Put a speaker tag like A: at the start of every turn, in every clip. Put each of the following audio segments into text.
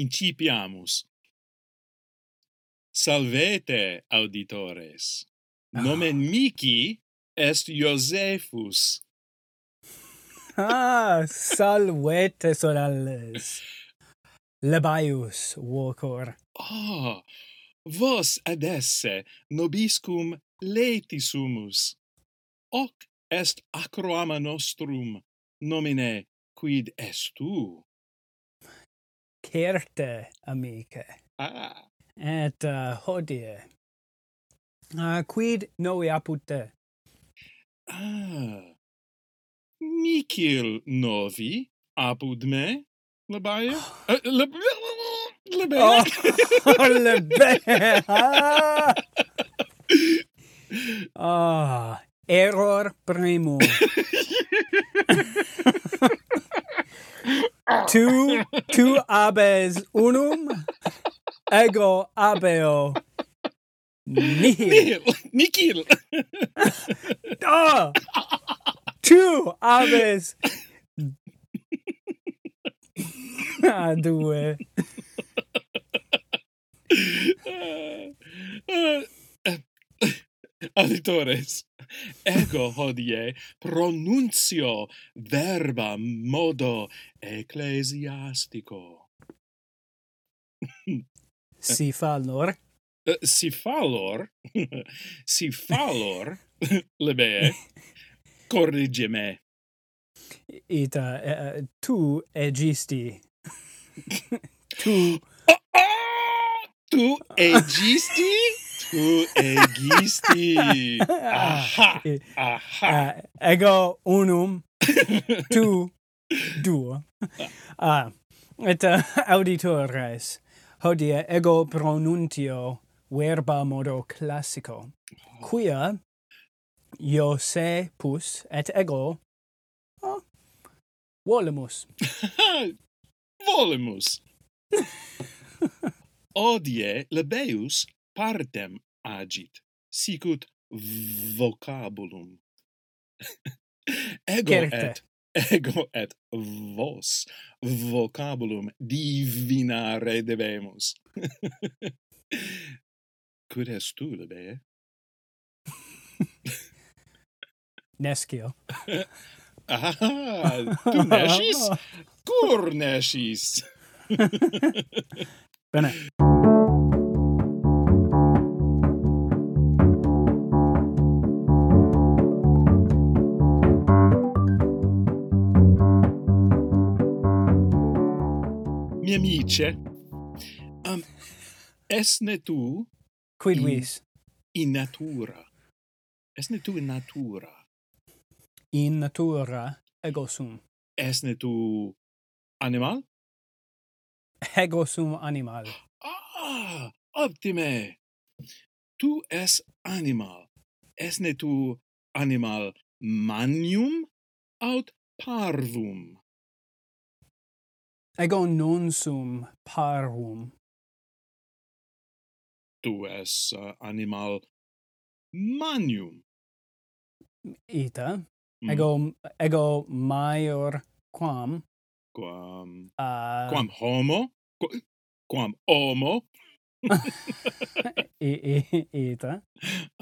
A: incipiamus. Salvete, auditores. Nomen mici est Iosephus.
B: ah, salvete sorales. Lebaius vocor.
A: Oh, vos ad esse nobiscum laetisumus. Hoc est acroama nostrum, nomine quid est tu?
B: Certe, amice.
A: Ah,
B: Et uh, hodie. Uh, quid novi apud te?
A: ah. Micil novi apud me, labae? Uh, lab
B: Oh,
A: labae?
B: lebe! Ah! Ah, error primum. tu, tu abes unum, ego abeo nihil.
A: Nihil, Micil!
B: Ah! Tu abes... ah, due.
A: Ah, ah, eh, Auditores, ego hodie pronuncio verba modo ecclesiastico.
B: Si fallor.
A: Eh, si fallor, si fallor, lebee, corrige me.
B: Ita, eh, tu egisti. tu
A: Ah, ah, tu egisti? tu egisti! Aha!
B: Eh,
A: Aha!
B: ah, ego unum tu duo ah et uh, auditores hodie ego pronuntio verba modo classico quia Iosepus et ego oh, volemus
A: Volemus! Odie lebeus partem agit, sicut vocabulum. Ego
B: Certe.
A: et ego et vos vocabulum divinare debemus. Quid est tu, Lebee?
B: nescio
A: Ah, tu nescis? Cur nescis?
B: bene
A: Mi amice, um, esne tu
B: quid
A: In-
B: vis
A: in natura? Esne tu in natura?
B: in natura ego sum
A: Esne tu animal?
B: ego sum animal
A: Ah, optime! Tu es animal. Esne tu animal manium aut parvum?
B: ego non sum parvum
A: Tu es uh, animal manium.
B: ita
A: Mm,
B: ego ego maior quam
A: Quam...
B: uh,
A: quam homo qu- quam homo
B: i, i, ita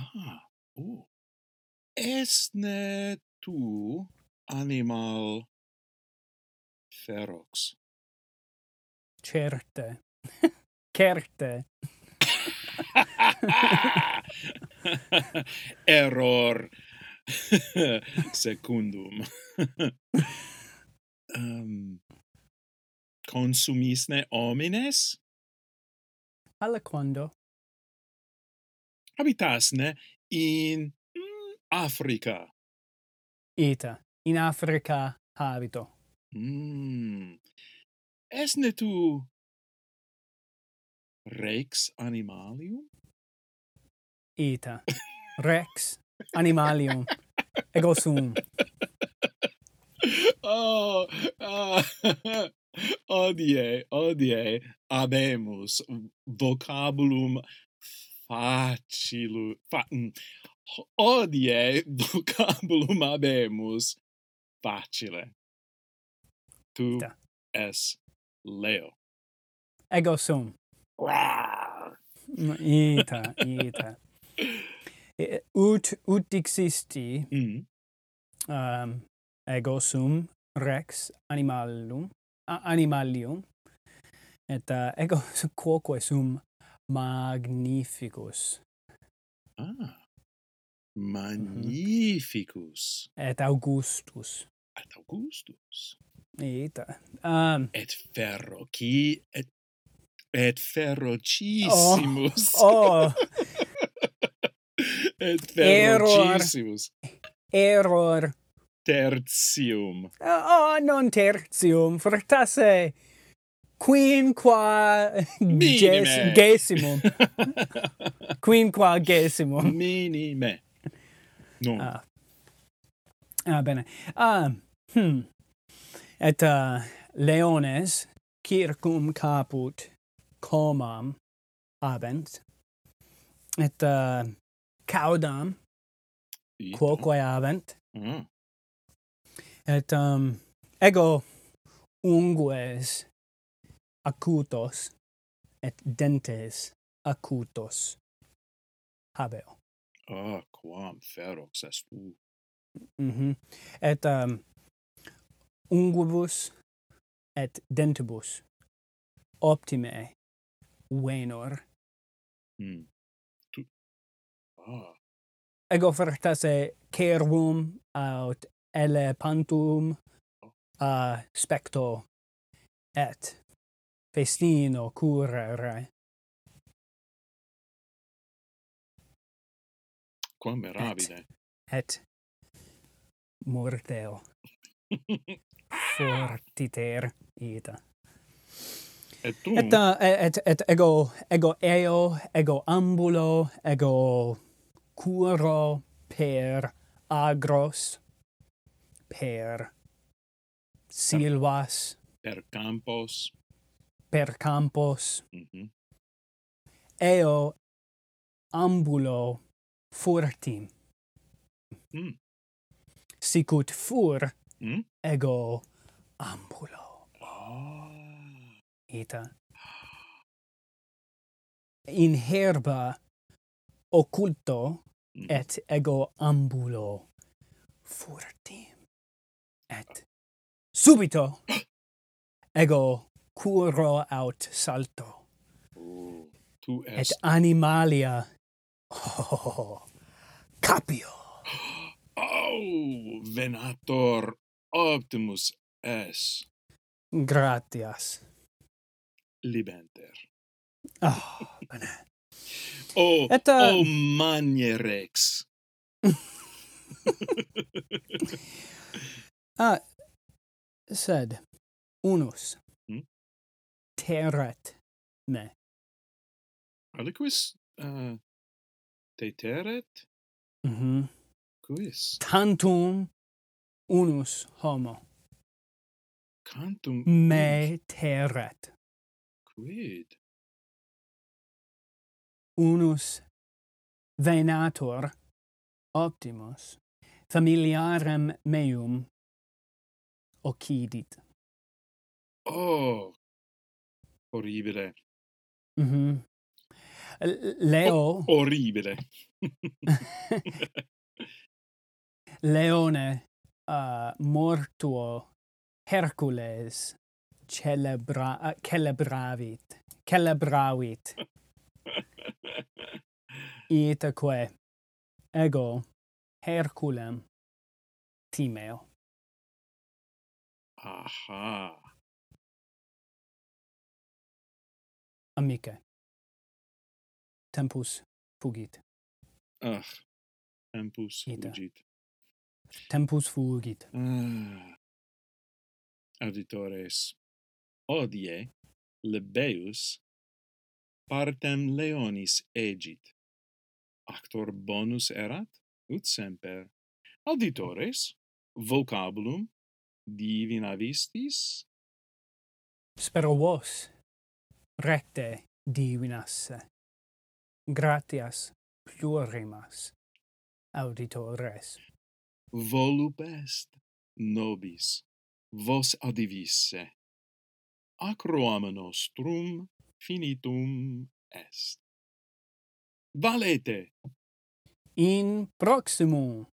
A: ah oh esne tu animal ferox
B: certe certe
A: error secundum um, consumisne homines
B: aliquando
A: habitasne in mm, africa
B: ita in africa habito
A: Mm. Esne tu rex animalium?
B: ita rex animalium ego sum
A: Oh, ah, odie, odie, abemus vocabulum facilu, fa, mm. odie vocabulum abemus facile. Tu
B: Da.
A: es Leo.
B: ego sum.
C: Wow.
B: Ita, ita. E- Ut, ut existi
A: Mm.
B: um, ego sum rex animalum, a, animalium, et uh, ego quoque sum magnificus,
A: Ah. Magnificus
B: et augustus.
A: ad Augustus.
B: Ita. Um,
A: Et ferroci et et ferrocissimus.
B: oh,
A: et
B: Error.
A: ferrocissimus
B: error.
A: tertium.
B: Oh, non tertium, fortasse quinqua
A: Minime.
B: ges, gesimum. quinqua gesimum.
A: Minime. Non.
B: Oh. Ah. Ah, bene. Ah, hmm. Et uh, leones circum caput comam habent, et uh, caudam
A: Ita.
B: quoque habent,
A: Ah.
B: et um, ego ungues acutos et dentes acutos habeo.
A: Ah, quam ferox est tu.
B: Mhm. Et um, unguibus et dentibus optime venor.
A: Mm. Tu. Ah.
B: Ego fortasse cervum aut elepantum uh, specto et festino curere.
A: Quam mirabile.
B: et morteo fortiter ita.
A: Et tu.
B: Et, uh, et, et ego, ego eo, ego ambulo, ego curo per agros, per silvas,
A: per campos.
B: per campos,
A: Mhm.
B: eo ambulo furtim.
A: Mm.
B: Sicut fur
A: Mm.
B: ego ambulo
A: Ah.
B: ita. In herba occulto
A: Mm.
B: et ego ambulo furtim. Et subito ego curo aut salto.
A: Oh, tu
B: et
A: est
B: animalia oh, capio
A: au venator optimus es
B: gratias
A: libenter.
B: oh, bene.
A: O,
B: Et, uh,
A: o manierex.
B: ah, sed unus
A: Hmm?
B: terret me
A: Aliquis uh, te teret?
B: Mhm.
A: Quis?
B: tantum unus homo
A: Cantum
B: me terret
A: quid?
B: unus venator optimus familiarem meum occidit
A: Oh, horribile.
B: Mhm. L- Leo,
A: Horribile.
B: Leone, uh, mortuo Hercules celebra- uh, celebravit, celebravit, itaque ego Herculem timeo.
A: Aha.
B: Amice, tempus fugit,
A: Ach, Ah, tempus
B: Ita.
A: fugit.
B: tempus fugit.
A: Ah. Auditores, odie lebeus partem leonis egit. Actor bonus erat, ut semper. Auditores, vocabulum divina vistis
B: Spero vos recte divinasse. Gratias plurimas auditores.
A: volup est nobis, vos adivisse. Acroam nostrum finitum est. Valete!
B: In proximo.